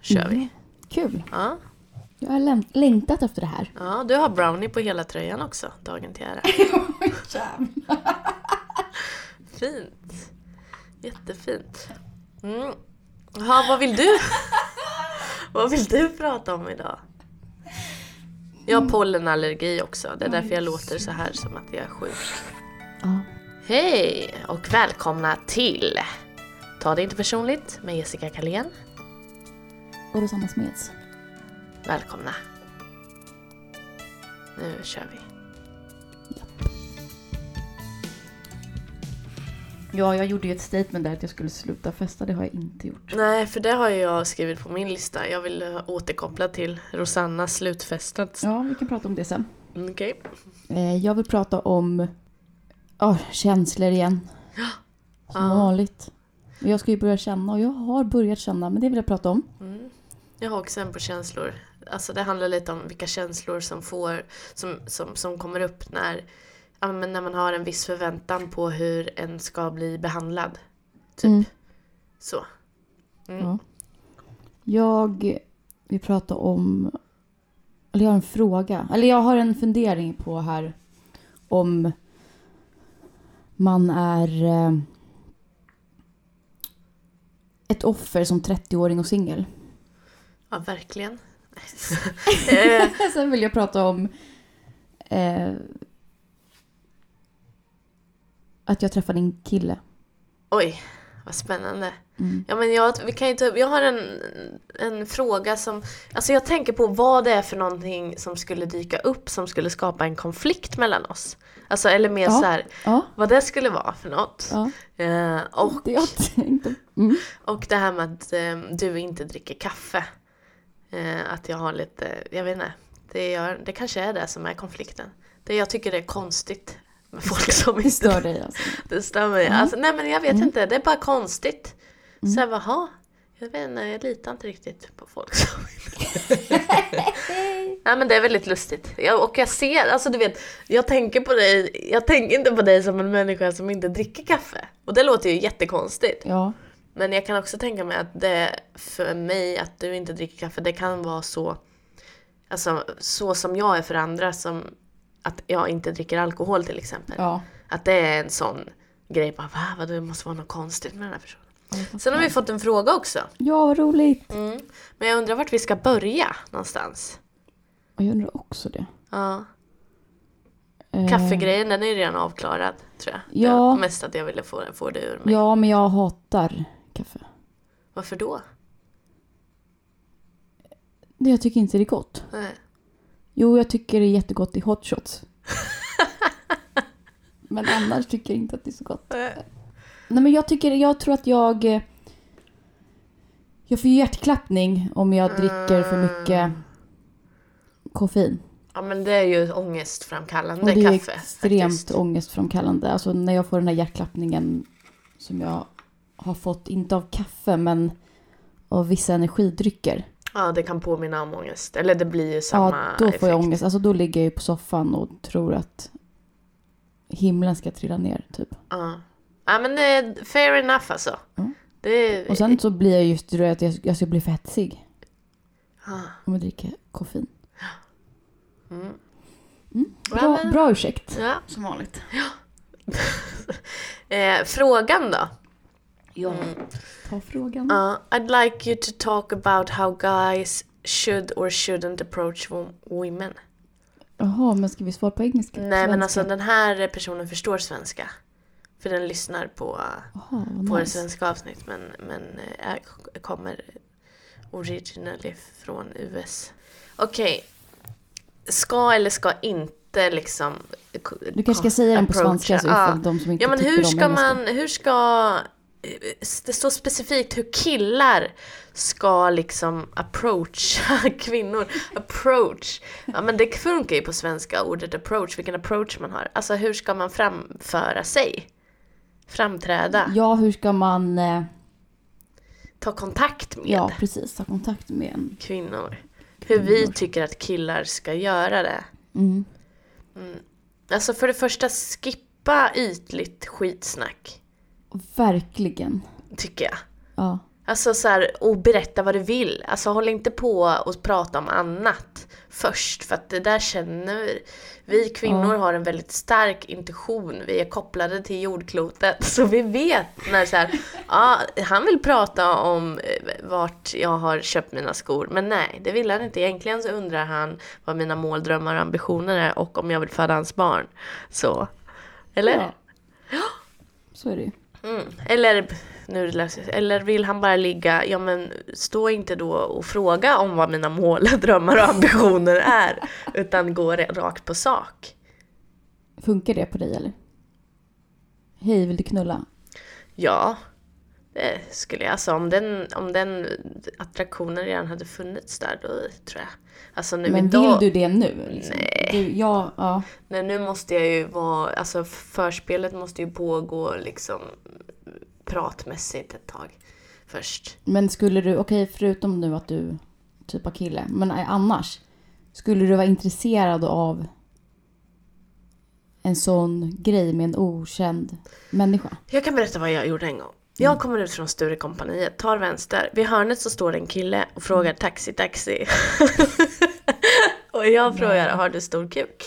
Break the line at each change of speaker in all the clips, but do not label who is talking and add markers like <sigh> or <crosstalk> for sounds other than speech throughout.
kör
Mm.
vi.
Kul.
Ja.
Jag har läm- längtat efter det här.
ja, du har brownie på hela tröjan också, dagen till ära. Fint. Jättefint. Mm. Jaha, vad vill du? vad vill du prata om idag? Jag har pollenallergi också. Det är därför jag låter så här som att jag är sjuk.
ja.
Hej och välkomna till Ta det inte personligt med Jessica Kalén.
Och Rosanna Smeds.
Välkomna. Nu kör vi.
Ja, jag gjorde ju ett statement där att jag skulle sluta festa. Det har jag inte gjort.
Nej, för det har jag skrivit på min lista. Jag vill eh, återkoppla till Rosannas slutfestat.
Ja, vi kan prata om det sen.
Mm, Okej.
Eh, jag vill prata om ja, känslor igen. Som
Ja.
vanligt. Jag ska ju börja känna och jag har börjat känna, men det vill jag prata om.
Jag har också en på känslor. Alltså det handlar lite om vilka känslor som, får, som, som, som kommer upp när, ja, men när man har en viss förväntan på hur en ska bli behandlad. Typ.
Mm.
Så.
Ja. Jag vill prata om... Eller jag har en fråga. Eller jag har en fundering på här om man är eh, ett offer som 30-åring och singel.
Ja, <laughs> verkligen. Eh,
<laughs> Sen vill jag prata om eh, att jag träffade en kille. Mm.
Oj, vad spännande. Ja, men jag, vi kan ju ta, upp- jag har en, en fråga som... Alltså jag tänker på vad det är för någonting som skulle dyka upp som skulle skapa en konflikt mellan oss. Alltså, eller mer
Ja.
så här,
Ja,
vad det skulle vara för något.
ja.
Eh, och,
Det <laughs> jag tänkte. Mm.
och det här med att eh, du inte dricker kaffe. Eh, att jag har lite, jag vet inte. Det, gör, det kanske är det som är konflikten. Det jag tycker det är konstigt med folk som
Det
inte
stör dig alltså.
det stämmer. ju. Alltså, nej men jag vet inte, det är bara konstigt. Så jag bara, "Ha, jag vet inte, jag litar inte riktigt på folk som Nej men det är väldigt lustigt. Jag, och jag ser, alltså du vet, jag tänker på dig, jag tänker inte på dig som en människa som inte dricker kaffe. Och det låter ju jättekonstigt.
Ja.
Men jag kan också tänka mig att det, för mig, att du inte dricker kaffe, det kan vara så, alltså så som jag är för andra som att jag inte dricker alkohol till exempel.
ja.
Att det är en sån grej, bara va, vad det måste vara något konstigt med den här personen.
Mm,
Sen har vi fått en fråga också.
Ja, vad roligt.
Mm. Men jag undrar vart vi ska börja någonstans.
Och jag undrar också det.
Ja.
Eh,
Kaffegrejen den är ju redan avklarad tror jag.
Ja.
Det var mest att jag ville få, få det ur mig.
Ja, men jag hatar kaffe.
Varför då?
Nej, Jag tycker inte det är gott.
Nej.
Jo, jag tycker det är jättegott i
<laughs>
hot shots. men annars tycker jag inte att det är så gott.
Eh.
Nej, men jag, tycker, jag tror att jag... eh, Jag får ju hjärtklappning om
Mm.
jag dricker för mycket koffein.
Ja men det är ju ångestframkallande
Och det är
kaffe.
extremt
faktiskt.
ångestframkallande. Alltså när jag får den här hjärtklappningen som jag har fått, inte av kaffe men av vissa energidrycker.
Ja det kan påminna om ångest. Eller det blir ju samma
ja, då får jag
effekt.
ångest. Alltså då ligger jag ju på soffan och tror att himlen ska trilla ner typ.
Ja. ja men eh, fair enough alltså.
Mm.
Det,
Och sen så blir jag just rädd att jag, jag ska bli för hetsig
Ja.
om jag dricker koffein.
Mm.
Mm.
Ja,
Bra,
men-
bra ursäkt.
Ja.
Som vanligt.
Eh, frågan då?
Ja.
Mm.
Ta frågan.
Uh, I'd like you to talk about how guys should or shouldn't approach wo- women.
Jaha, men ska vi svara på engelska?
Nej men
Svenska?
alltså den här personen förstår svenska. För den lyssnar på, uh,
Jaha, vad
på det
nice.
svenska avsnitt men, men eh, är- kommer originally från US. Okej. Ska eller ska inte liksom...
Du kanske ska säga den på svenska så
Ja.
ifall de som inte
Ja men
tycker
hur
om
ska
engelska.
man, hur ska, det står specifikt hur killar ska liksom approacha <laughs> kvinnor. Approach. Ja men det funkar ju på svenska ordet approach, vilken approach man har. Alltså hur ska man framföra sig? Framträda,
Ja, hur ska man... eh,
ta kontakt med
Ja, precis. Ta kontakt med en...
kvinnor. Hur vi tycker att killar ska göra det.
Mm.
Alltså för det första, skippa ytligt skitsnack,
Verkligen.
tycker jag.
Ja.
Alltså så här, och berätta vad du vill. Alltså håll inte på och prata om annat först. För att det där känner vi. kvinnor har en väldigt stark intuition. Vi är kopplade till jordklotet. <laughs> Så vi vet när så här, ja, han vill prata om eh, vart jag har köpt mina skor. Men nej, det vill han inte. Egentligen så undrar han vad mina mål, drömmar och ambitioner är och om jag vill föda hans barn. Så. Eller?
Ja. Så är det ju.
Mm. Eller, nu läser jag, eller vill han bara ligga? Ja men stå inte då och fråga om vad mina mål, drömmar och ambitioner är. Utan gå re- rakt på sak.
Funkar det på dig eller? Hej, vill du knulla?
Ja, det skulle jag. Alltså om den, om den attraktionen redan hade funnits där då tror jag. Alltså nu
Men
idag,
vill du det nu? Liksom? Nej. Du, ja, ja.
nej, nu måste jag ju vara, alltså förspelet måste ju pågå liksom pratmässigt ett tag först.
Men skulle du, okej förutom nu att du typ av kille, men nej, annars. Skulle du vara intresserad av en sån grej med en okänd människa?
Jag kan berätta vad jag gjorde en gång. Jag kommer ut från Sturecompagniet, tar vänster. Vid hörnet så står det en kille och frågar taxi, taxi. <laughs> och jag frågar, har du stor kuk?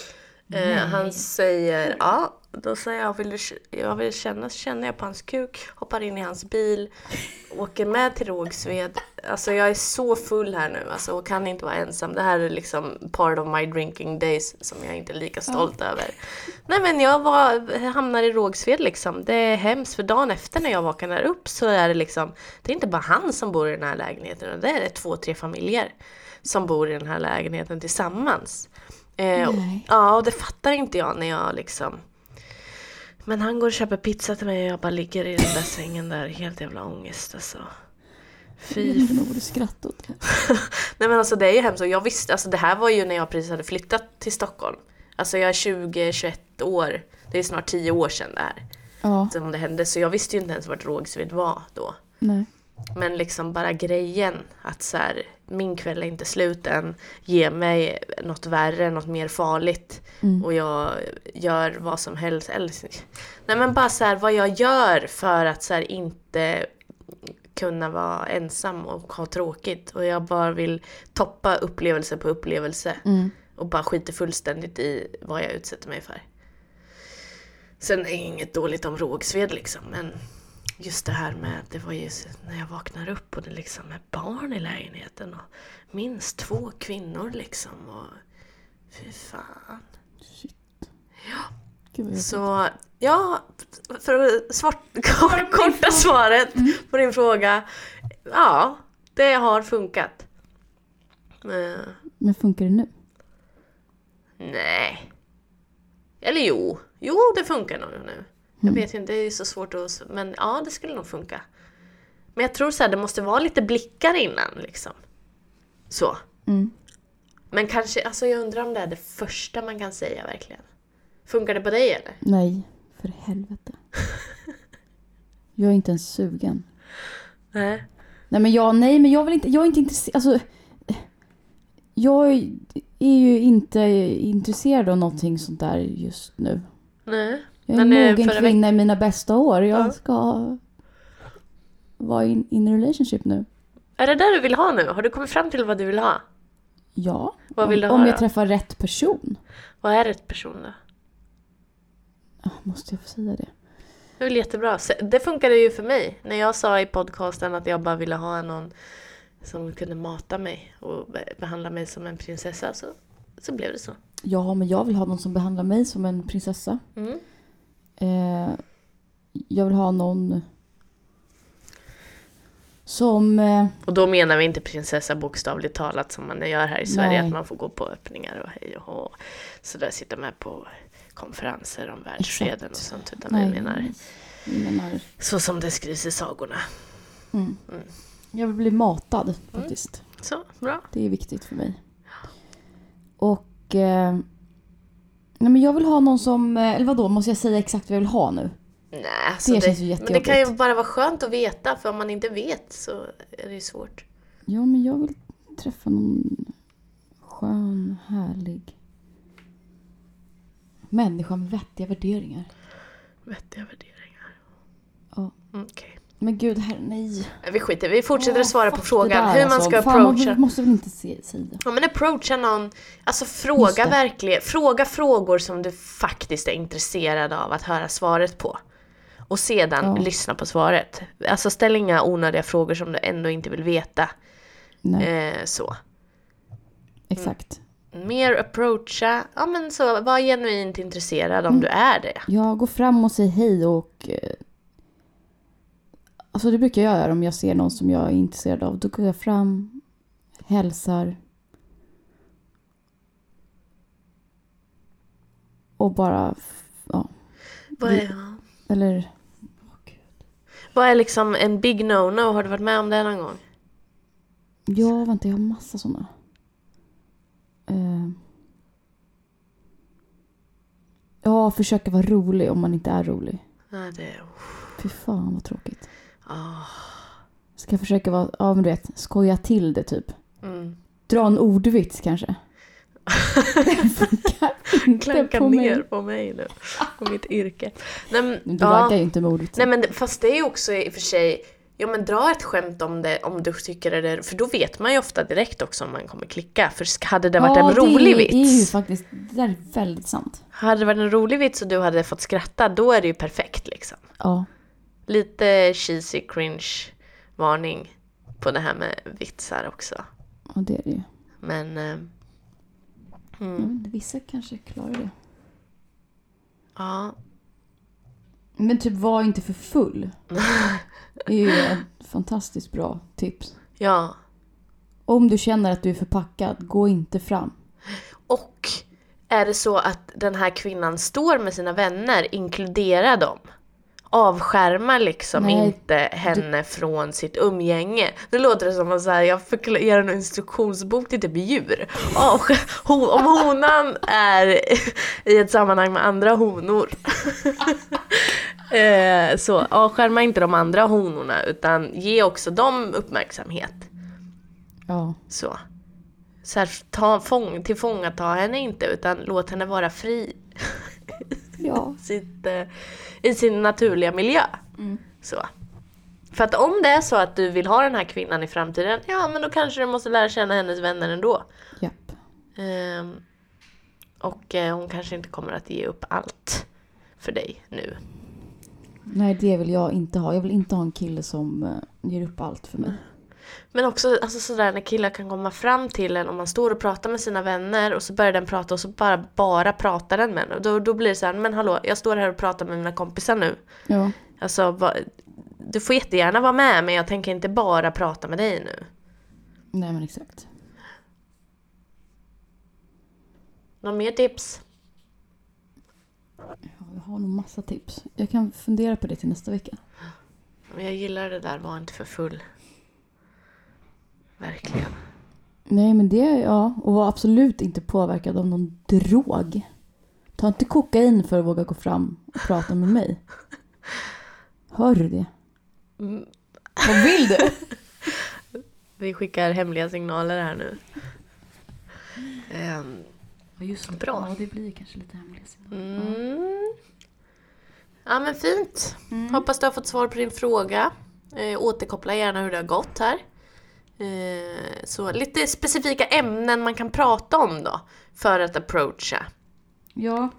Eh, han säger ja. Då säger jag, vill du, k- jag vill känna, så känner jag på hans kuk, hoppar in i hans bil, åker med till Rågsved. Alltså jag är så full här nu alltså, och kan inte vara ensam. Det här är liksom part of my drinking days som jag inte är lika stolt över. Nej men jag var, hamnar i Rågsved liksom. Det är hemskt för dagen efter när jag vaknar upp så är det liksom, det är inte bara han som bor i den här lägenheten det är två, tre familjer som bor i den här lägenheten tillsammans. Eh, och,
Nej.
ja, och det fattar inte jag när jag liksom men han går och köper pizza till mig och jag bara ligger i den där sängen där, helt jävla ångest alltså.
Jag
Fy
vet inte nog du skrattar åt det.
<laughs> Nej men alltså det är ju hemskt och jag visste, alltså det här var ju när jag precis hade flyttat till Stockholm. Alltså jag är 20, 21 år. Det är snart 10 år sedan det här
Ja,
som det hände. Så jag visste ju inte ens vart Rågsved var då.
nej.
Men liksom bara grejen att så här, min kväll är inte slut än. Ge mig något värre, något mer farligt.
Mm.
Och jag gör vad som helst. Eller, nej men bara så här, vad jag gör för att så här, inte kunna vara ensam och ha tråkigt. Och jag bara vill toppa upplevelse på upplevelse.
Mm.
Och bara skiter fullständigt i vad jag utsätter mig för. Sen är det inget dåligt om Rågsved liksom, men just det här med, det var ju så- när jag vaknar upp och det liksom är barn i lägenheten och minst två kvinnor liksom och fy fan.
Shit. Gud,
Mm.
vad
Så
jag...
ja, för att svart, <laughs> kor- korta Mm. svaret på din fråga. Ja, det har funkat. Eh,
Men funkar det nu?
Nej. Eller jo. Jo, det funkar nog nu. Jag vet inte, det är ju så svårt att... s- Men ja, det skulle nog funka. Men jag tror så här, det måste vara lite blickar innan liksom. Så.
Mm.
Men kanske, alltså jag undrar om det är det första man kan säga verkligen. Funkar det på dig eller?
Nej, för helvete. Jag är inte ens sugen.
Nej.
Nej men jag, nej men jag vill inte, jag är inte intresserad, alltså. Jag är ju inte intresserad av någonting sånt där just nu.
Nej.
Jag är
Men, eh,
en mogen
förra
kvinna i mina bästa år. Jag
Ja.
ska vara in, in a relationship nu.
Är det där du vill ha nu? Har du kommit fram till vad du vill ha?
Ja.
Vad vill du
om,
ha
Om
då?
jag träffar rätt person.
Vad är rätt person då?
Ah, Måste jag få säga det?
Det är väl jättebra. Se- Det funkade ju för mig. När jag sa i podcasten att jag bara ville ha någon som kunde mata mig och be- behandla mig som en prinsessa så, så blev det så.
Ja, men jag vill ha någon som behandlar mig som en prinsessa.
Mm.
Eh, jag vill ha någon som... Eh,
Och då menar vi inte prinsessa bokstavligt talat som man gör här i Sverige,
Nej.
att man får gå på öppningar och hej och hå. Så där sitter man på konferenser om världsfreden och
Exakt.
sånt. Utan vi menar
jag menar...
så som det skrivs i sagorna.
Mm. Jag vill bli matad faktiskt.
Så, bra.
Det är viktigt för mig. Och... Eh, nej men jag vill ha någon som... eh, Eller vadå, måste jag säga exakt vad jag vill ha nu?
Nej, alltså det,
känns ju
men det kan ju
jättejobbigt.
bara vara skönt att veta, för om man inte vet så är det ju svårt.
Ja, men jag vill träffa någon skön, härlig människa med vettiga värderingar.
Vettiga värderingar.
Ja.
Mm, Okej.
Men gud, herre, nej.
Vi skiter vi fortsätter att svara på
Fuck
frågan
det där, alltså.
hur man ska
Fan, man
approacha.
vill- måste väl inte se, säga.
Ja men approacha någon, alltså
Just
fråga
det.
verkligen, fråga frågor som du faktiskt är intresserad av att höra svaret på. Och sedan
Ja.
lyssna på svaret. Alltså ställ inga onödiga frågor som du ändå inte vill veta.
Nej,
Eh, så.
exakt.
Mer approacha, ja men så var genuint intresserad om
Mm.
du är det.
Jag går fram och säger hej och... eh, Alltså det brukar jag göra om jag ser någon som jag är intresserad av. Då går jag fram, hälsar. Och bara... Ja,
Vad är, ja.
eller... åh, gud.
vad är liksom en big no-no? Har du varit med om det någon gång?
Ja, vänta, jag har massa sådana. Eh. Ja, försöka vara rolig om man inte är rolig.
Ja, det,
Fy fan vad tråkigt.
Ah.
Ska försöka vara, ja men du vet, skoja till det typ.
mm.
Dra en ordvits
<laughs>
kanske. Det funkar inte
Klanka
på
ner
mig.
på mig nu, på mitt yrke. Nej, men,
Du
ja.
raggar ju inte med ordvits.
Nej men det- fast det är ju också i och för sig, ja men dra ett skämt om det om du tycker det är, för då vet man ju ofta direkt också om man kommer klicka. För sk- hade det varit
ja,
en rolig
det, är- Det är ju
vits,
faktiskt, det där är väldigt sant.
hade det varit en rolig vits och du hade fått skratta, då är det ju perfekt liksom.
Ja,
Lite cheesy cringe varning på det här med vitsar också.
och det är det ju.
Men eh,
Mm. Vissa kanske klarar det.
ja,
Men typ var inte
<laughs>
för full. Det är ju ett fantastiskt bra tips.
ja.
Om du känner att du är förpackad, gå inte fram.
Och är det så att den här kvinnan står med sina vänner, inkludera dem. Avskärma liksom
Nej,
inte henne från sitt umgänge. Nu låter det som att så här, jag förkla- ger en instruktionsbok till typ djur. Avsk- ho- om honan är i ett sammanhang med andra honor. <laughs> eh, så avskärma inte de andra honorna utan ge också dem uppmärksamhet.
Ja.
Så. Så här, ta, fång, tillfångata henne inte utan låt henne vara fri
Ja.
sitt, eh, i sin naturliga miljö. Så. För att om det är så att du vill ha den här kvinnan i framtiden, ja men då kanske du måste lära känna hennes vänner ändå.
Japp.
Ehm, och eh, hon kanske inte kommer att ge upp allt för dig nu.
Nej, det vill jag inte ha. Jag vill inte ha en kille som eh, ger upp allt för mig.
Men också alltså sådär när killar kan komma fram till en om man står och pratar med sina vänner och så börjar den prata och så bara, bara pratar den med en. Och då, då blir det så här, men hallå, jag står här och pratar med mina kompisar nu.
Ja.
Alltså, vad- du får jättegärna vara med men jag tänker inte bara prata med dig nu.
Nej, men exakt.
Någon mer tips?
Ja, Jag har nog massa tips. Jag kan fundera på det till nästa vecka.
Jag gillar det där, var inte för full. Verkligen.
Nej, men det, ja. Och var absolut inte påverkad av någon drog. Ta inte kokain för att våga gå fram och prata med mig. Hör du det?
Mm.
Vad vill du?
Vi skickar hemliga signaler här nu. Ehm,
Just
det. Bra.
Ja, det blir kanske lite hemligt.
Mm. Ja men fint.
Mm.
Hoppas du har fått svar på din fråga. Eh, återkoppla gärna hur det har gått här. Eh, så lite specifika ämnen man kan prata om då. För att approacha.
<laughs> Ja.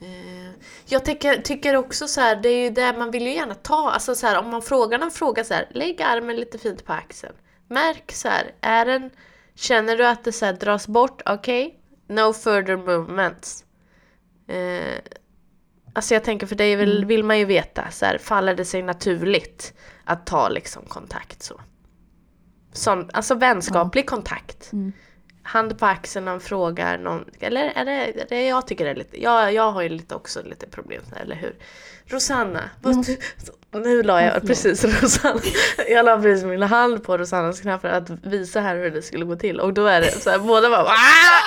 Eh, Jag tycker, tycker också så här, det är ju det man vill ju gärna ta, alltså så här, om man frågar någon fråga så här, lägg armen lite fint på axeln. Märk så här, är den, känner du att det så här dras bort, okej, no further movements. Eh, alltså jag tänker för dig
Mm.
vill, vill man ju veta, så här, faller det sig naturligt att ta liksom kontakt så. Sån, alltså vänskaplig kontakt
Mm.
hand på axeln när han frågar någon, eller är det, är det jag tycker det är lite, jag, jag har ju lite också lite problem där, eller hur? Rosanna, vad,
måste-
nu la
Ja,
jag
förlåt.
precis Rosanna, jag la precis min hand på Rosannas knapp för att visa här hur det skulle gå till och då är det så här, båda bara "Ah!"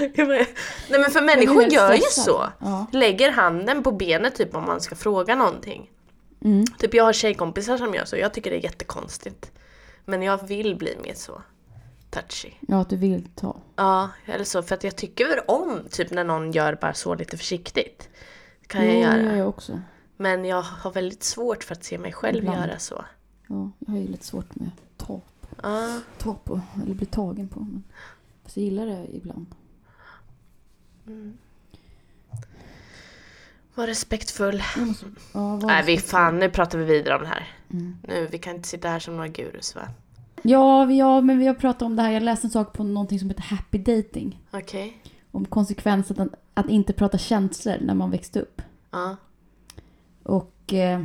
<laughs> Jag bara, Nej men för människor
helt
gör ju så.
stressad. Ja.
Lägger handen på benet typ om man ska fråga någonting.
Mm.
Typ jag har tjejkompisar som gör så, jag tycker det är jättekonstigt. Men jag vill bli mer så touchy.
ja, att du vill ta.
Ja, eller så. För att jag tycker väl om typ när någon gör bara så lite försiktigt. Kan jag
Jo,
göra.
det gör jag också.
Men jag har väldigt svårt för att se mig själv
Ibland.
göra så.
Ja, jag har ju lite svårt med ta,
Ja,
ta på, eller bli tagen på. Men, fast jag gillar det ibland.
var respektfull.
Jag måste, ja, vad-
Nej, vi fan, nu pratar vi vidare om det här.
Mm.
Nu, vi kan inte sitta här som några gurus va?
Ja, vi- ja, men vi har pratat om det här. Jag läste en sak på någonting som heter happy dating.
Okej.
Om konsekvensen att, att inte prata känslor när man växte upp.
Ja.
Och... Eh,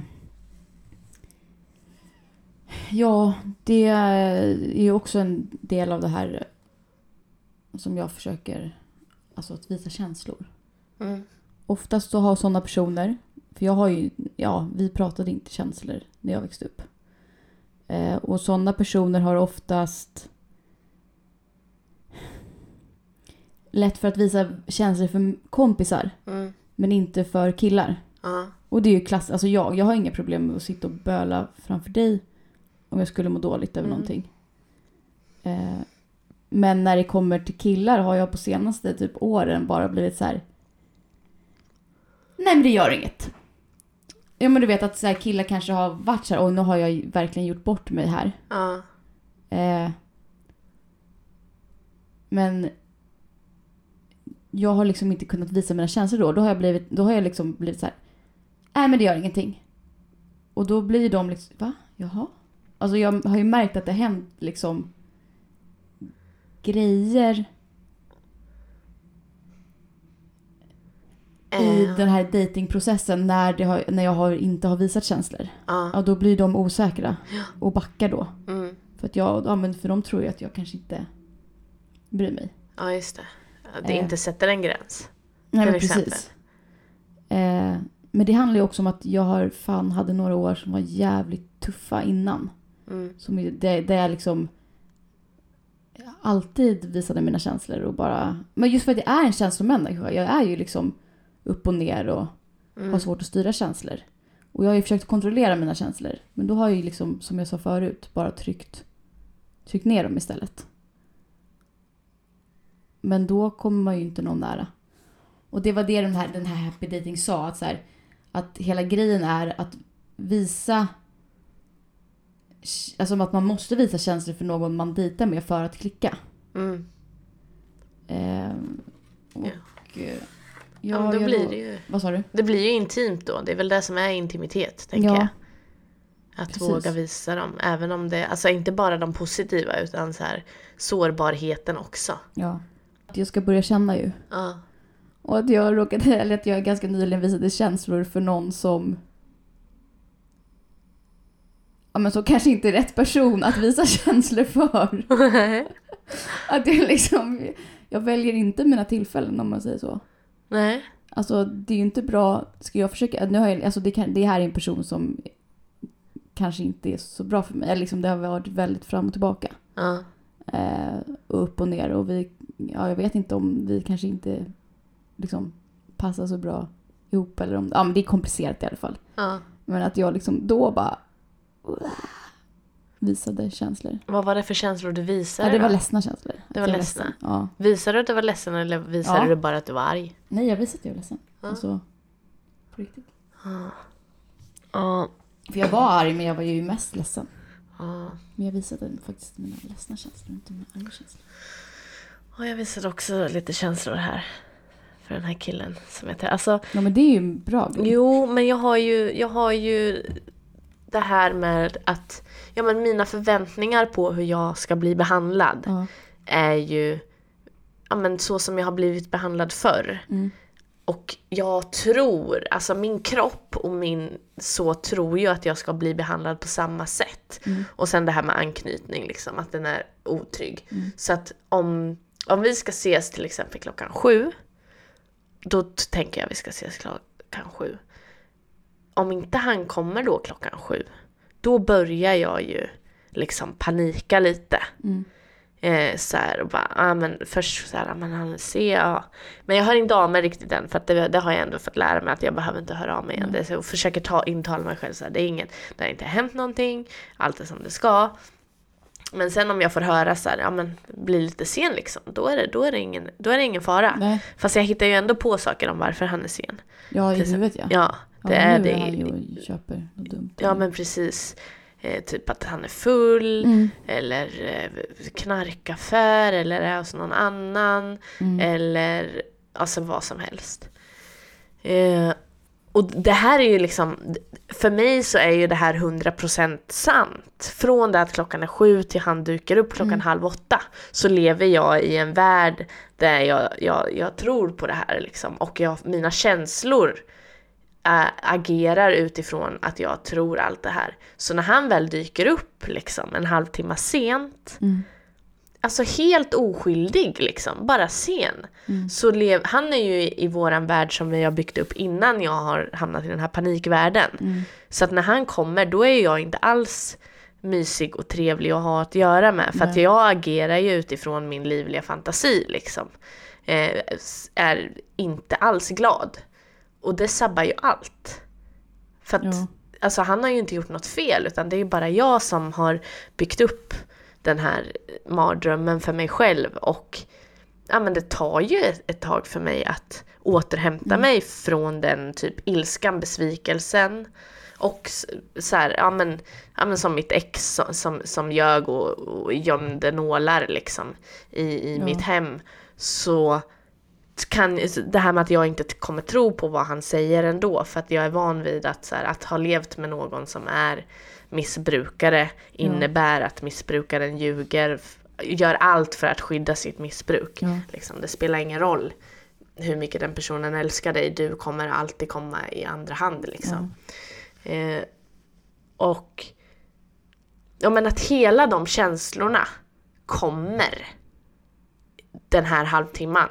ja, det är ju också en del av det här som jag försöker... Alltså att visa känslor.
Mm.
Oftast så har sådana personer... För jag har ju... Ja, vi pratade inte känslor när jag växte upp. Eh, och sådana personer har oftast... Lätt för att visa känslor för kompisar,
Mm.
men inte för killar.
Ja.
Och det är ju klass, alltså jag, jag har inga problem med att sitta och böla framför dig om jag skulle må dåligt över
Mm.
någonting. Eh, men när det kommer till killar har jag på senaste typ åren bara blivit så här. Nej men det gör inget. Ja men du vet att så här, killar kanske har varit så här, och nu har jag ju verkligen gjort bort mig här.
Ja.
Eh, men jag har liksom inte kunnat visa mina känslor då. Då har jag, blivit, då har jag liksom blivit så här. Nej men det gör ingenting. Och då blir de liksom, va? Jaha? Alltså jag har ju märkt att det har hänt liksom grejer i
Eh,
den här datingprocessen när, det har, när jag har, inte har visat känslor.
Ja.
Ja, då blir de osäkra och backar då.
Mm.
För, att jag, ja, men för de tror ju att jag kanske inte bryr mig.
Ja, just det. Att det
Eh.
inte sätter en gräns.
Nej,
Till
men precis. Eh, men det handlar ju också om att jag har fan hade några år som var jävligt tuffa innan.
Mm.
Som, ju- där, där jag liksom alltid visade mina känslor och bara... Men just för att jag är en känslomänniska. Jag är ju liksom upp och ner och har
Mm. Alltså,
svårt att styra känslor. Och jag har ju försökt kontrollera mina känslor. Men då har jag ju liksom, som jag sa förut, bara tryckt, tryckt ner dem istället. Men då kommer man ju inte någon nära. Och det var det den här, den här Happy Dating sa, att, så här, att hela grejen är att visa... Alltså att man måste visa känslor för någon man dejtar med för att klicka.
Mm.
Ehm, och,
Ja.
eh,
Ja, men då
jag-
blir det ju...
Vad sa du?
Det blir ju intimt då. Det är väl det som är intimitet, tänker
Ja.
jag. Att
Precis.
våga visa dem. Även om det, alltså inte bara de positiva utan så här sårbarheten också.
Ja. Att jag ska börja känna ju.
Ja.
Och att jag råkade, <laughs> eller att jag ganska nyligen visade känslor för någon som Ja men så kanske inte är rätt person att visa <laughs> känslor för. Att jag liksom, jag väljer inte mina tillfällen om man säger så.
<laughs> Nej.
Alltså det är ju inte bra, ska jag försöka, nu har jag, alltså det, kan, det här är en person som kanske inte är så bra för mig. Eller Liksom det har varit väldigt fram och tillbaka.
Ja.
Eh, och upp och ner. Och vi, ja, jag vet inte om vi kanske inte liksom, passar så bra ihop. Eller om, ja, men det är komplicerat i alla fall.
ja.
Men att jag liksom då bara visade känslor.
Vad var det för känslor du visade
Ja, det
då?
var ledsna känslor. Att
var
jag var
ledsna.
ledsen. Ja.
Visade du att du var ledsen eller visade
Ja.
du bara att du var arg?
Nej, jag visade att jag var ledsen. Alltså, på riktigt.
Ja.
För jag var arg, men jag var ju mest ledsen.
Ja.
Men jag visade faktiskt mina ledsna känslor, inte mina arga känslor.
Och jag visade också lite känslor här. För den här killen som heter... Alltså,
Ja, men det är ju en bra grej.
Jo, men jag har ju, jag har ju det här med att ja, men mina förväntningar på hur jag ska bli behandlad
Ja.
är ju ja, men så som jag har blivit behandlad förr.
Mm.
Och jag tror, alltså min kropp och min så tror ju att jag ska bli behandlad på samma sätt. Och sen det här med anknytning, liksom, att den är otrygg. Så att om, om vi ska ses till exempel klockan sju, då t- tänker jag vi ska ses klockan sju. Om inte han kommer då klockan sju, då börjar jag ju liksom panika lite.
Mm.
Eh, så här och bara, ah, men först så här, ah, men han ser, ja. Men jag hör inte av mig riktigt än för att det, det har jag ändå fått lära mig att jag behöver inte höra av mig
Mm.
än. Det, så jag försöker ta, intala mig själv så här, det är inget, det har inte hänt någonting, allt är som det ska. Men sen om jag får höra så här, ja men blir lite sen liksom, då är det, då är det, ingen, då är det ingen fara.
Nej,
Fast jag hittar ju ändå på saker om varför han är sen.
ja, i huvudet ja.
Ja, Det är
nu
det.
är han ju och köper något dumt.
Ja men precis. Eh, typ att han är full
Mm,
eller eh, knarkaffär eller är hos någon annan
mm,
eller alltså vad som helst. Eh, och det här är ju liksom, för mig så är ju det här 100% sant. Från det att klockan är sju till han dyker upp klockan
Mm.
halv åtta så lever jag i en värld där jag, jag, jag tror på det här liksom. Och jag, mina känslor eh, agerar utifrån att jag tror allt det här. Så när han väl dyker upp liksom en halvtimme sent
mm,
alltså helt oskyldig liksom, bara sen.
Mm.
Så lev, han är ju i, i våran värld som vi har byggt upp innan jag har hamnat i den här panikvärlden.
mm,
Så att när han kommer då är jag inte alls mysig och trevlig att ha att göra med. För att
Nej.
jag agerar ju utifrån min livliga fantasi liksom. Eh, s- är inte alls glad. Och det sabbar ju allt. För att
ja.
alltså han har ju inte gjort något fel utan det är ju bara jag som har byggt upp den här mardrömmen för mig själv och ja, men det tar ju ett, ett tag för mig att återhämta
Mm.
mig från den typ ilskan, besvikelsen och s- så här, ja men, ja men som mitt ex som, som, som ljög och, och gömde nålar liksom i, i
Ja.
mitt hem så kan, det här med att jag inte kommer tro på vad han säger ändå för att jag är van vid att, så här, att ha levt med någon som är missbrukare innebär att missbrukaren ljuger, f- gör allt för att skydda sitt missbruk.
Ja.
Liksom, det spelar ingen roll hur mycket den personen älskar dig, du kommer alltid komma i andra hand. Liksom. Eh, och ja, men att hela de känslorna kommer den här halvtimman.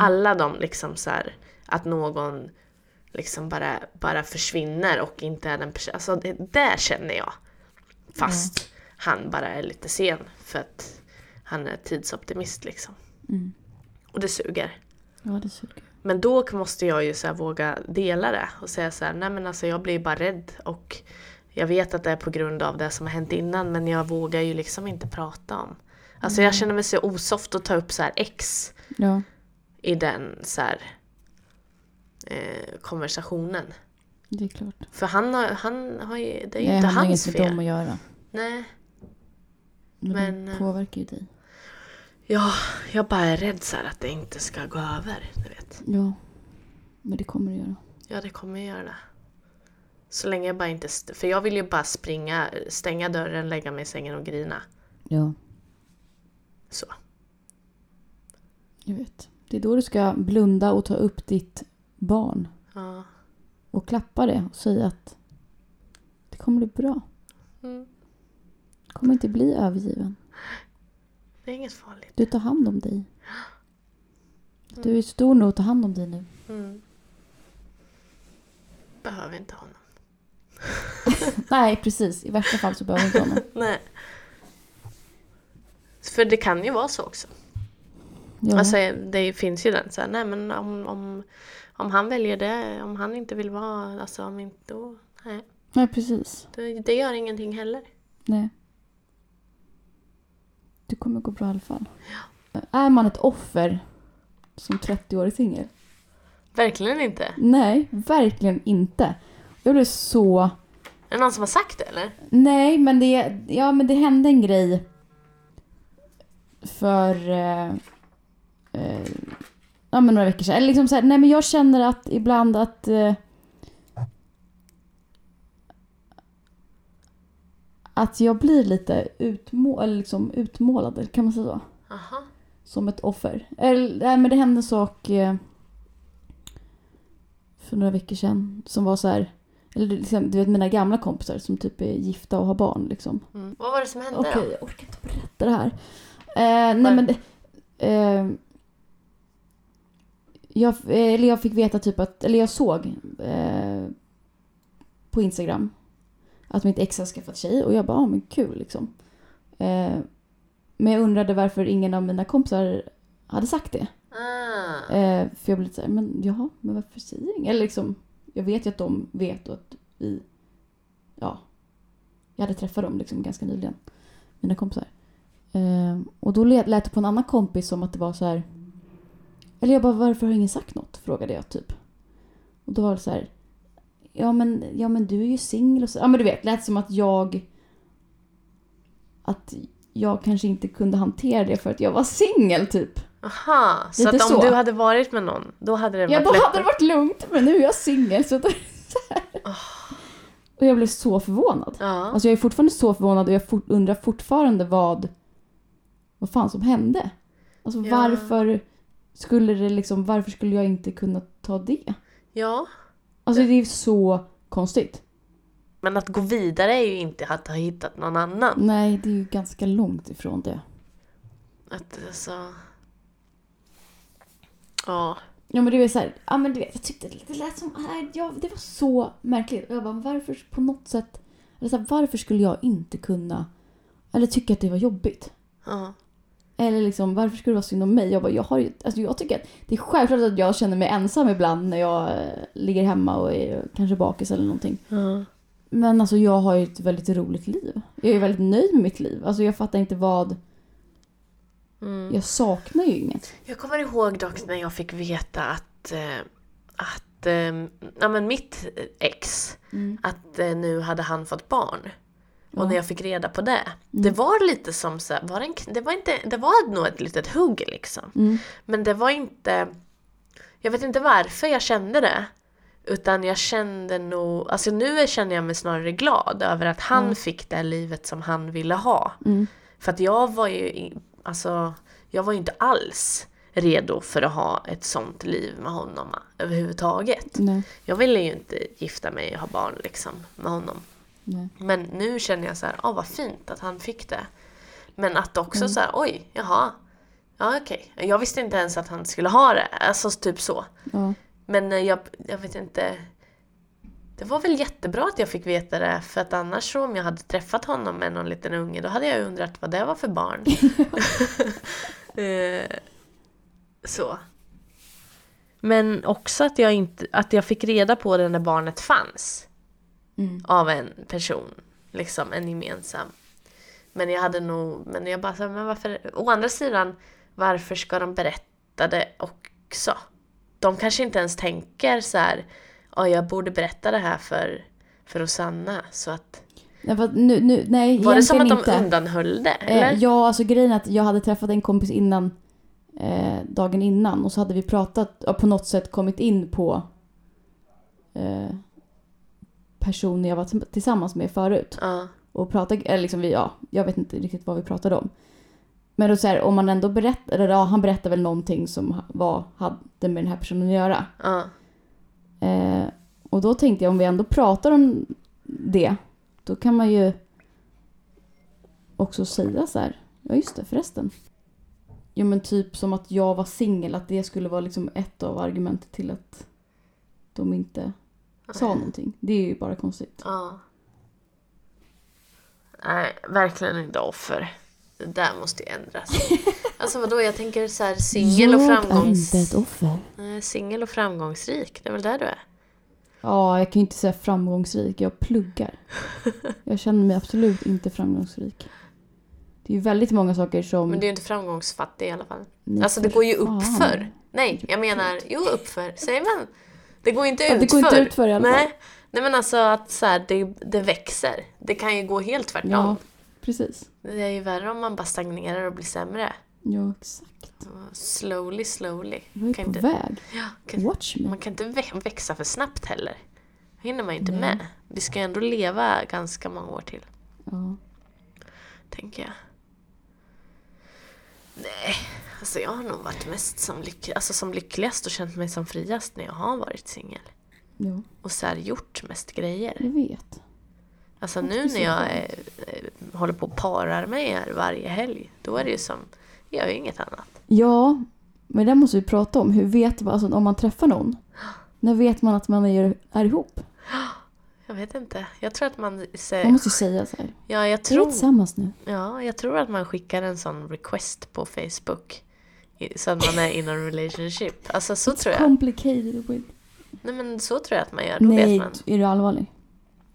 Alla de liksom så här, att någon liksom bara, bara försvinner och inte är den personen. Alltså det där känner jag. Fast han bara är lite sen för att han är tidsoptimist liksom.
Mm.
Och det suger.
ja, det suger.
Men då måste jag ju så här våga dela det och säga så här, nej men alltså jag blir bara rädd och jag vet att det är på grund av det som har hänt innan men jag vågar ju liksom inte prata om. Alltså
Mm.
jag känner mig så osoft att ta upp så här ex
Ja,
i den så här eh, konversationen.
det är klart.
För han har, han har ju, det är ju
Nej,
inte
han har
hans
inget med
fel.
dem att göra.
Nej.
Men,
Men, eh,
det påverkar ju dig.
Ja, jag bara är rädd så här att det inte ska gå över, du vet.
Ja, men det kommer det göra.
Ja, det kommer jag göra det. Så länge jag bara inte... St- för jag vill ju bara springa, stänga dörren, lägga mig i sängen och grina.
Ja,
Så.
jag vet. Det är då du ska blunda och ta upp ditt barn
Ja.
och klappa det och säga att det kommer bli bra.
Mm.
Du kommer inte bli övergiven.
Det är inget farligt.
Du tar hand om
<gasps>
dig. Du är stor nog att ta hand om dig nu.
Mm. Behöver inte honom.
Nej, precis. I värsta fall så behöver du inte honom.
Nej. För det kan ju vara så också.
Ja,
Alltså, det finns ju den så här, nej men om, om, om han väljer det, om han inte vill vara, alltså om inte, då, nej.
Nej, precis.
Det, det gör ingenting heller.
Nej. Det kommer gå bra i alla fall. Är man ett offer som 30-årig singel?
Verkligen inte.
Nej, verkligen inte. Jag blev så...
Är det någon som har sagt det eller?
Nej, men det, ja, men det hände en grej för eh, eh, ja, men några veckor sedan. Eller liksom så här, nej, men jag känner att ibland att... Eh, att jag blir lite utmå, eller liksom utmålad, kan man säga så?
Aha.
Som ett offer. Eller, nej, men det hände en sak eh, för några veckor sedan som var så här... Eller liksom, du vet mina gamla kompisar som typ är gifta och har barn liksom.
Mm. Vad var det som hände
Okej,
då?
jag orkar inte berätta det här. Eh, nej
Nej.
men det, eh, jag, eller jag fick veta typ att, eller jag såg eh, på Instagram att mitt ex har skaffat tjej och jag bara, ah, men kul liksom. Eh, men jag undrade varför ingen av mina kompisar hade sagt det.
Ah.
Eh, för jag blev lite såhär, men jaha, men varför säger ingen? Eller liksom, jag vet ju att de vet och att vi, ja. Jag hade träffat dem liksom ganska nyligen, mina kompisar. Eh, och då lät lät det på en annan kompis som att det var så här. eller jag bara, varför har ingen sagt något? Frågade jag typ. Och då var det så här. ja men, ja men du är ju singel och så. Ja men du vet, lät som att jag... Att jag kanske inte kunde hantera det för att jag var singel typ.
Aha, så
Lite
att om
så.
du hade varit med någon, då hade det
Jag
varit
bara,
lättare?
hade det varit lugnt men nu är jag singel så, då är det så här. Och jag blev så förvånad.
Ah. Ja.
Alltså jag är fortfarande så förvånad och jag for, undrar fortfarande vad, vad fan som hände. Alltså
Ja.
varför skulle det liksom, varför skulle jag inte kunna ta det?
ja.
Alltså det är så konstigt.
Men att gå vidare är ju inte att ha hittat någon annan.
Nej, det är ju ganska långt ifrån det.
Att alltså... Ja.
Ja men det var så här, ja men du vet, jag tyckte det lite lät som, nej, jag, det var så märkligt. Och jag bara, varför på något sätt, eller så här, varför skulle jag inte kunna, eller tycka att det var jobbigt?
ja.
Eller liksom, varför skulle det vara synd om mig? Jag bara, jag har ju, alltså jag tycker att det är självklart att jag känner mig ensam ibland när jag eh, ligger hemma och är kanske bakis eller någonting.
ja.
Men alltså jag har ju ett väldigt roligt liv. Jag är väldigt nöjd med mitt liv. Alltså jag fattar inte vad,
Mm.
jag saknar ju inget.
Jag kommer ihåg dock när jag fick veta att, eh, att eh, ja, men mitt ex, att eh, nu hade han fått barn. Och när jag fick reda på det,
Mm.
det var lite som så här, var det, en, kn- det, var inte, det var nog ett litet hugg liksom.
Mm.
Men det var inte, jag vet inte varför jag kände det. Utan jag kände nog, alltså nu känner jag mig snarare glad över att han fick det livet som han ville ha.
Mm.
För att jag var ju, i- alltså, jag var ju inte alls redo för att ha ett sånt liv med honom överhuvudtaget.
Nej,
Jag ville ju inte gifta mig och ha barn liksom med honom.
nej.
Men nu känner jag så här, ah, vad fint att han fick det. Men att också så här, oj, jaha. Ja okej, jag visste inte ens att han skulle ha det. Alltså typ så.
Ja.
Men eh, jag, jag vet inte. Det var väl jättebra att jag fick veta det för att annars så om jag hade träffat honom med någon liten unge då hade jag undrat vad det var för barn. Eh, så. Men också att jag, inte, att jag fick reda på det när barnet fanns
Mm.
av en person, liksom en gemensam. Men jag hade nog, men jag bara så här, men varför, å andra sidan, varför ska de berätta det också? De kanske inte ens tänker så här, ja jag borde berätta det här för, för Rosanna, så att,
Nej, vad- nu, nu, nej
var det som att
egentligen
de
inte.
undanhöll det? Eller?
Eh, ja, alltså grejen är att jag hade träffat en kompis innan, eh, dagen innan och så hade vi pratat och på något sätt kommit in på eh, personer jag var t- tillsammans med förut.
Ja.
Och pratade, eller liksom vi, ja, jag vet inte riktigt vad vi pratade om. Men då så här, om man ändå berättar, eller ja, han berättade väl någonting som ha- var, hade med den här personen att göra.
Ja.
Eh, och då tänkte jag om vi ändå pratar om det, då kan man ju också säga så här. Ja just det, förresten. Ja men typ som att jag var singel, att det skulle vara liksom ett av argumenten till att de inte sa någonting. Det är ju bara konstigt.
Ja. Nej, verkligen inte offer. Det där måste ju
<laughs>
ändras. Alltså vadå, jag tänker så här singel och framgångs...
offer.
Nej, Eh, Singel och framgångsrik, det är väl där du är?
Ja, jag kan ju inte säga framgångsrik, jag pluggar.
<laughs>
Jag känner mig absolut inte framgångsrik. Det är ju väldigt många saker som...
Men du är ju inte framgångsfattig i alla fall.
Nej,
alltså det
för
går ju
fan.
uppför. Nej, jag menar, jo uppför, säger man. Det går inte
Mm. Ja,
utför.
det går inte utför i alla fall.
Nej, Nej men alltså att så här, det, det växer. Det kan ju gå helt tvärtom.
Ja, precis.
Det är ju värre om man bara stagnerar och blir sämre.
Ja, exakt.
Slowly, slowly.
Jag är
Kan
på
inte-
väg.
Ja, kan,
Watch me.
Man kan inte vä- växa för snabbt heller. Det hinner man ju inte
Nej.
med. Vi ska ju ändå leva ganska många år till,
Ja.
tänker jag. Nej, alltså jag har nog varit mest som, lyck- alltså som lyckligast och känt mig som friast när jag har varit singel.
ja,
Och så här gjort mest grejer.
jag vet.
Alltså nu när jag är, eh, håller på och parar mig här varje helg, då är det ju som, jag gör ju inget annat.
Ja, men det måste vi prata om. Hur vet man, alltså om man träffar någon, när vet man att man är, är ihop?
Jag vet inte, jag tror att man
Man
säger,
måste ju säga så här.
ja jag
Är vi
Eh, tror
tillsammans nu?
Ja, jag tror att man skickar en sån request på Facebook. i- Så att man är in a relationship. Alltså så tror jag.
Complicated with...
Nej men så tror jag att man gör. Då vet
Nej,
man.
är du allvarlig?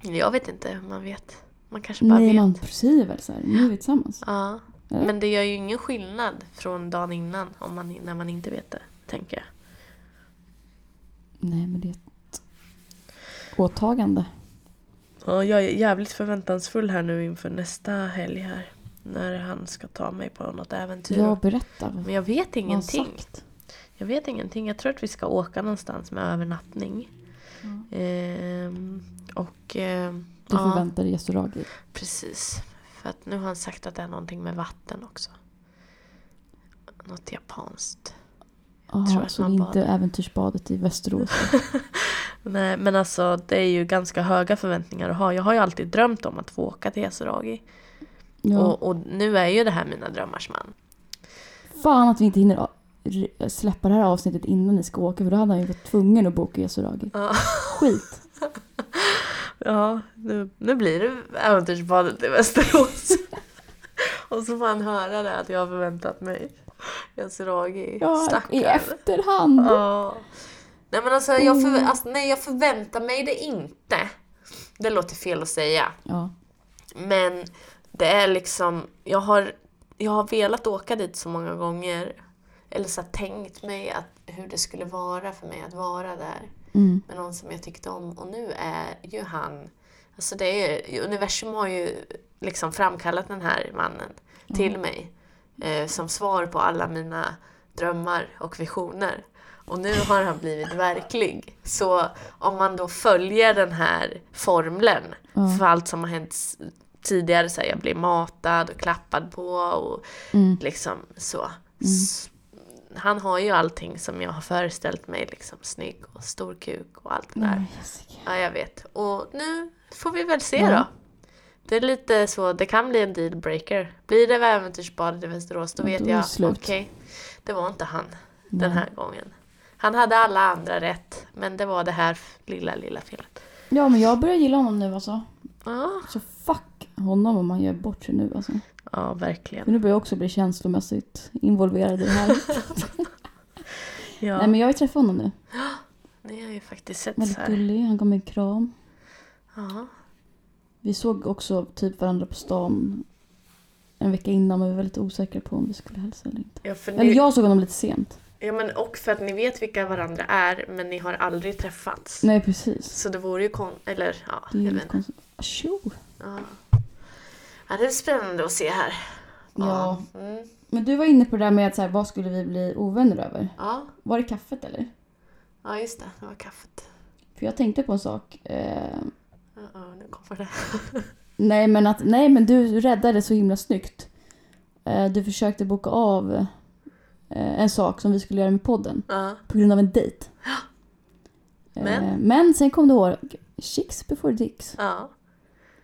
Jag vet inte hur man vet. Man kanske bara
Nej,
vet.
man säger väl så här. Nu är vi tillsammans.
Ja.
Eller?
Men det gör ju ingen skillnad från dagen innan om man, när man inte vet det. Tänker jag.
Nej, men det... åtagande.
Ja, jag är jävligt förväntansfull här nu inför nästa helg här. När han ska ta mig på något äventyr.
Jag berättar vad
Men jag vet
jag har
ingenting.
sagt.
Jag vet ingenting. Jag tror att vi ska åka någonstans med övernattning.
Mm.
Ehm, och... ehm,
Du
ja,
förväntar dig Yasuragi.
precis. För att nu har han sagt att det är någonting med vatten också. Något japanskt. tror
Jaha,
att
så det
man
är
bara-
inte äventyrsbadet i Västerås.
Nej, men alltså det är ju ganska höga förväntningar att ha. Jag har ju alltid drömt om att få åka till Yasuragi.
Ja.
Och, och nu är ju det här mina drömmars man.
Fan att vi inte hinner a- r- släppa det här avsnittet innan ni ska åka för då hade han ju varit tvungen att boka Yasuragi.
Ja. <laughs>
Skit.
Ja, nu, nu blir det äventyrsbadet i Västerås. <laughs> och så får han höra det att jag har förväntat mig Yasuragi.
Ja, i
Stackarn.
efterhand.
Ja. Nej men alltså jag, förvä-
Mm.
alltså nej, jag förväntar mig det inte. Det låter fel att säga.
Ja.
Men det är liksom, jag har, jag har velat åka dit så många gånger. Eller så här, tänkt mig att, hur det skulle vara för mig att vara där
Mm.
med någon som jag tyckte om. Och nu är ju han... Alltså det är, ju- universum har ju liksom framkallat den här mannen till mig eh, som svar på alla mina drömmar och visioner. Och nu har han blivit verklig. Så om man då följer den här formeln
Ja.
för allt som har hänt s- tidigare, så här, jag blir matad och klappad på och
Mm.
liksom så. S- Han har ju allting som jag har föreställt mig, liksom snygg och stor kuk och allt det där.
Nej, Jessica.
Ja, jag vet. Och nu får vi väl se
Ja.
då. Det är lite så, det kan bli en dealbreaker. Blir det äventyrsbadet i Västerås, då
Ja,
vet
då är
jag,
det
okej,
slut.
det var inte han
Nej.
den här gången. Han hade alla andra rätt, men det var det här lilla, lilla felet.
Ja men jag börjar gilla honom nu alltså.
Ja,
Så fuck honom om han gör bort sig nu alltså.
ja
För
verkligen.
nu börjar jag också bli känslomässigt involverad i det här.
<laughs> Ja,
Nej men jag vill träffa honom nu.
ni har ju faktiskt sett så
Väldigt
här.
gullig, han gav mig en kram.
Ja,
Vi såg också typ varandra på stan en vecka innan men vi var lite osäkra på om vi skulle hälsa eller inte.
ja, för
Eller
ni,
jag såg honom lite sent.
ja men och för att ni vet vilka varandra är, men ni har aldrig träffats.
Nej precis.
Så det vore ju kon... Eller ja,
Det är
jag
ju
vet
lite
inte.
konstigt. Tjo!
Ja. ja, det är spännande att se här.
Ja.
Mm.
Men du var inne på det där med att så här, vad skulle vi bli ovänner över?
Ja.
Var det kaffet eller?
ja, just det. Det var kaffet.
För jag tänkte på en sak. Eh,
Uh-oh, nu kommer det.
nej, men att, nej men du räddade så himla snyggt. Eh, du försökte boka av eh, en sak som vi skulle göra med podden.
Ja.
På grund av en dejt.
Men?
Eh, <gasps> men sen kom du ihåg. Chicks before dicks.
Ja.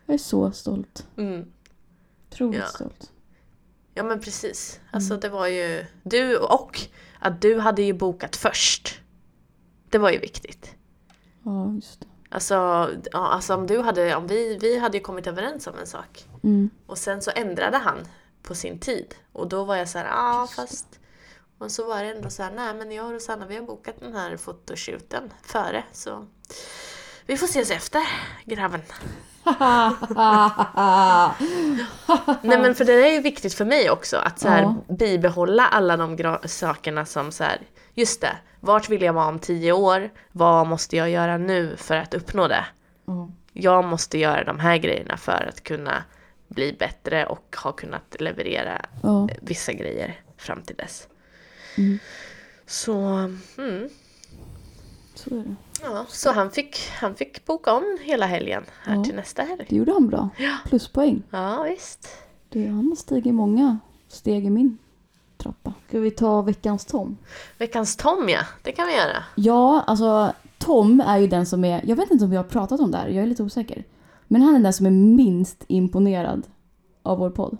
Jag är så stolt.
Mm.
Otroligt
Ja.
stolt.
ja, men precis.
Mm.
Alltså det var ju du och att du hade ju bokat först. Det var ju viktigt.
Ja, just det.
Alltså, ja, alltså om du hade, om vi, vi hade ju kommit överens om en sak.
<laughs> Mm.
Och sen så ändrade han på sin tid. Och då var jag så här, ja ah, fast... Och så var det ändå så här, nej men jag och Rosanna vi har bokat den här fotoshooten före så... Vi får ses efter, grabben. Nej men för det är ju viktigt för mig också att så här, bibehålla alla de gra- sakerna som så här, just det, vart vill jag vara om tio år? Vad måste jag göra nu för att uppnå det?
Ja.
jag måste göra de här grejerna för att kunna bli bättre och ha kunnat leverera
Ja.
vissa grejer fram till dess.
Mm.
Så, mm,
Så är det.
ja, så han, fick, han fick boka om hela helgen här
Ja.
till nästa helg.
Det gjorde han bra. Pluspoäng.
Ja, visst.
Det, han har stigit många steg i min trappa. Ska vi ta veckans Tom?
Veckans Tom ja, det kan vi göra.
Ja, alltså Tom är ju den som är... Jag vet inte om vi har pratat om det här, jag är lite osäker. Men han är den som är minst imponerad av vår podd.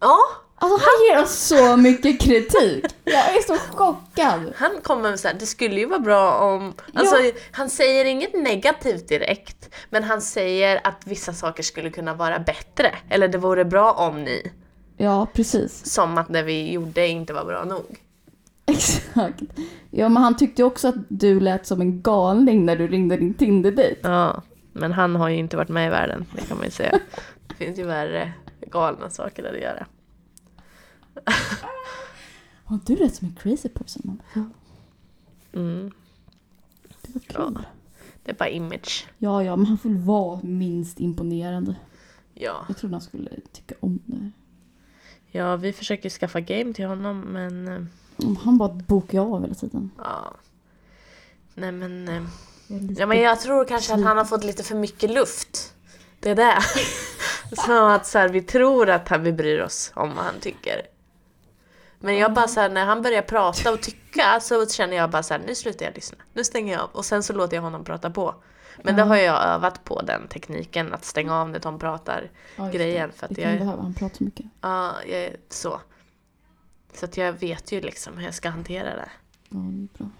Ja,
Alltså han ger oss så mycket kritik! Jag är så chockad!
han kommer med så här, det skulle ju vara bra om... Alltså, Han säger inget negativt direkt, men han säger att vissa saker skulle kunna vara bättre. Eller det vore bra om ni.
Ja, precis. <laughs>
Som att det vi gjorde inte var bra nog.
Exakt. Ja, men han tyckte ju också att du lät som en galning när du ringde din Tinder-dejt.
Ja, men han har ju inte varit med i världen, det kan man ju säga. <laughs> Det finns ju värre galna saker där att göra.
Ja, du lät som en crazy person. Ja,
Mm.
det var kul.
Det är bara image.
Ja, ja, men han får väl vara minst imponerande.
Ja.
Jag trodde han skulle tycka om det här.
ja, vi försöker skaffa game till honom men eh,
Om Han bara bokar av hela tiden.
ja. Nej men, eh,
Jag är lite-
ja, men jag tror kanske att han har fått lite för mycket luft. Det är
<laughs>
det. Så att så här, vi tror att han, vi bryr oss om vad han tycker. Men jag bara så här, när han börjar prata och tycka så känner jag bara så här, nu slutar jag lyssna. Nu stänger jag av och sen så låter jag honom prata på. Men det
Mm.
har jag övat på den tekniken, att stänga av när de pratar.
Ja, just det.
grejen, för att
det kan
jag-
behöva, han pratar så mycket.
Ja, jag är så. Så att jag vet ju liksom hur jag ska hantera det.
Ja, det är bra.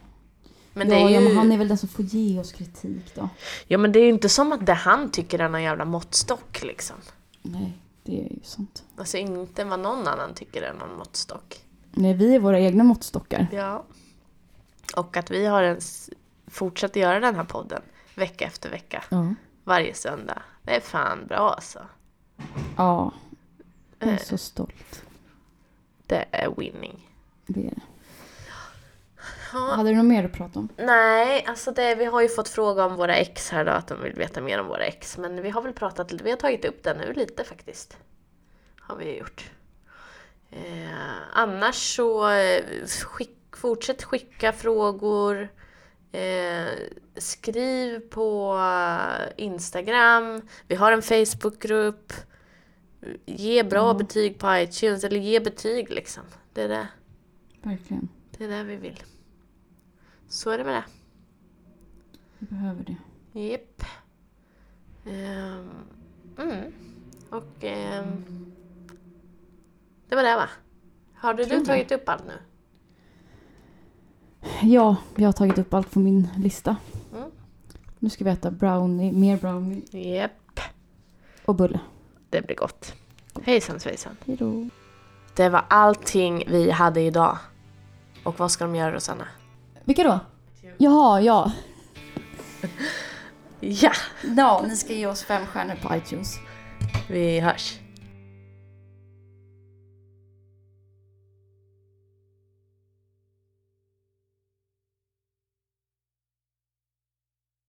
Men
ja,
det är ju...
ja, men han är väl den som får ge oss kritik då.
Ja men det är ju inte som att det han tycker är någon jävla måttstock liksom.
Nej, det är ju sant.
Alltså inte vad någon annan tycker är någon måttstock.
Nej, vi är våra egna måttstockar.
Ja. Och att vi har ens fortsatt göra den här podden vecka efter vecka,
Ja.
varje söndag. Det är fan bra alltså.
Ja. Eh. Jag är så stolt.
Det är winning.
Det är det.
Ja.
Hade du något mer att prata om?
Nej, alltså det, vi har ju fått fråga om våra ex här då, att de vill veta mer om våra ex. Men vi har väl pratat, vi har tagit upp det nu lite faktiskt. Har vi gjort. Eh, annars så eh, skick, fortsätt skicka frågor. Eh, skriv på Instagram. Vi har en Facebookgrupp. Ge bra betyg på iTunes, eller ge betyg liksom. Det är det.
Verkligen.
Det är det vi vill. Så är det med det.
Vi behöver det.
Japp. Ehm, mm. Och ehm, det var det va? Har du,
Tror
du
det.
tagit upp allt nu?
Ja, jag har tagit upp allt på min lista.
Mm.
Nu ska vi äta brownie, mer brownie
Japp.
och bulle.
Det blir gott. Hejsan svejsan.
Hej då.
Det var allting vi hade idag. Och vad ska de göra Rosanna?
Vilka då? Jaha, ja.
Ja!
Ja, ni ska ge oss fem stjärnor på iTunes.
Vi hörs.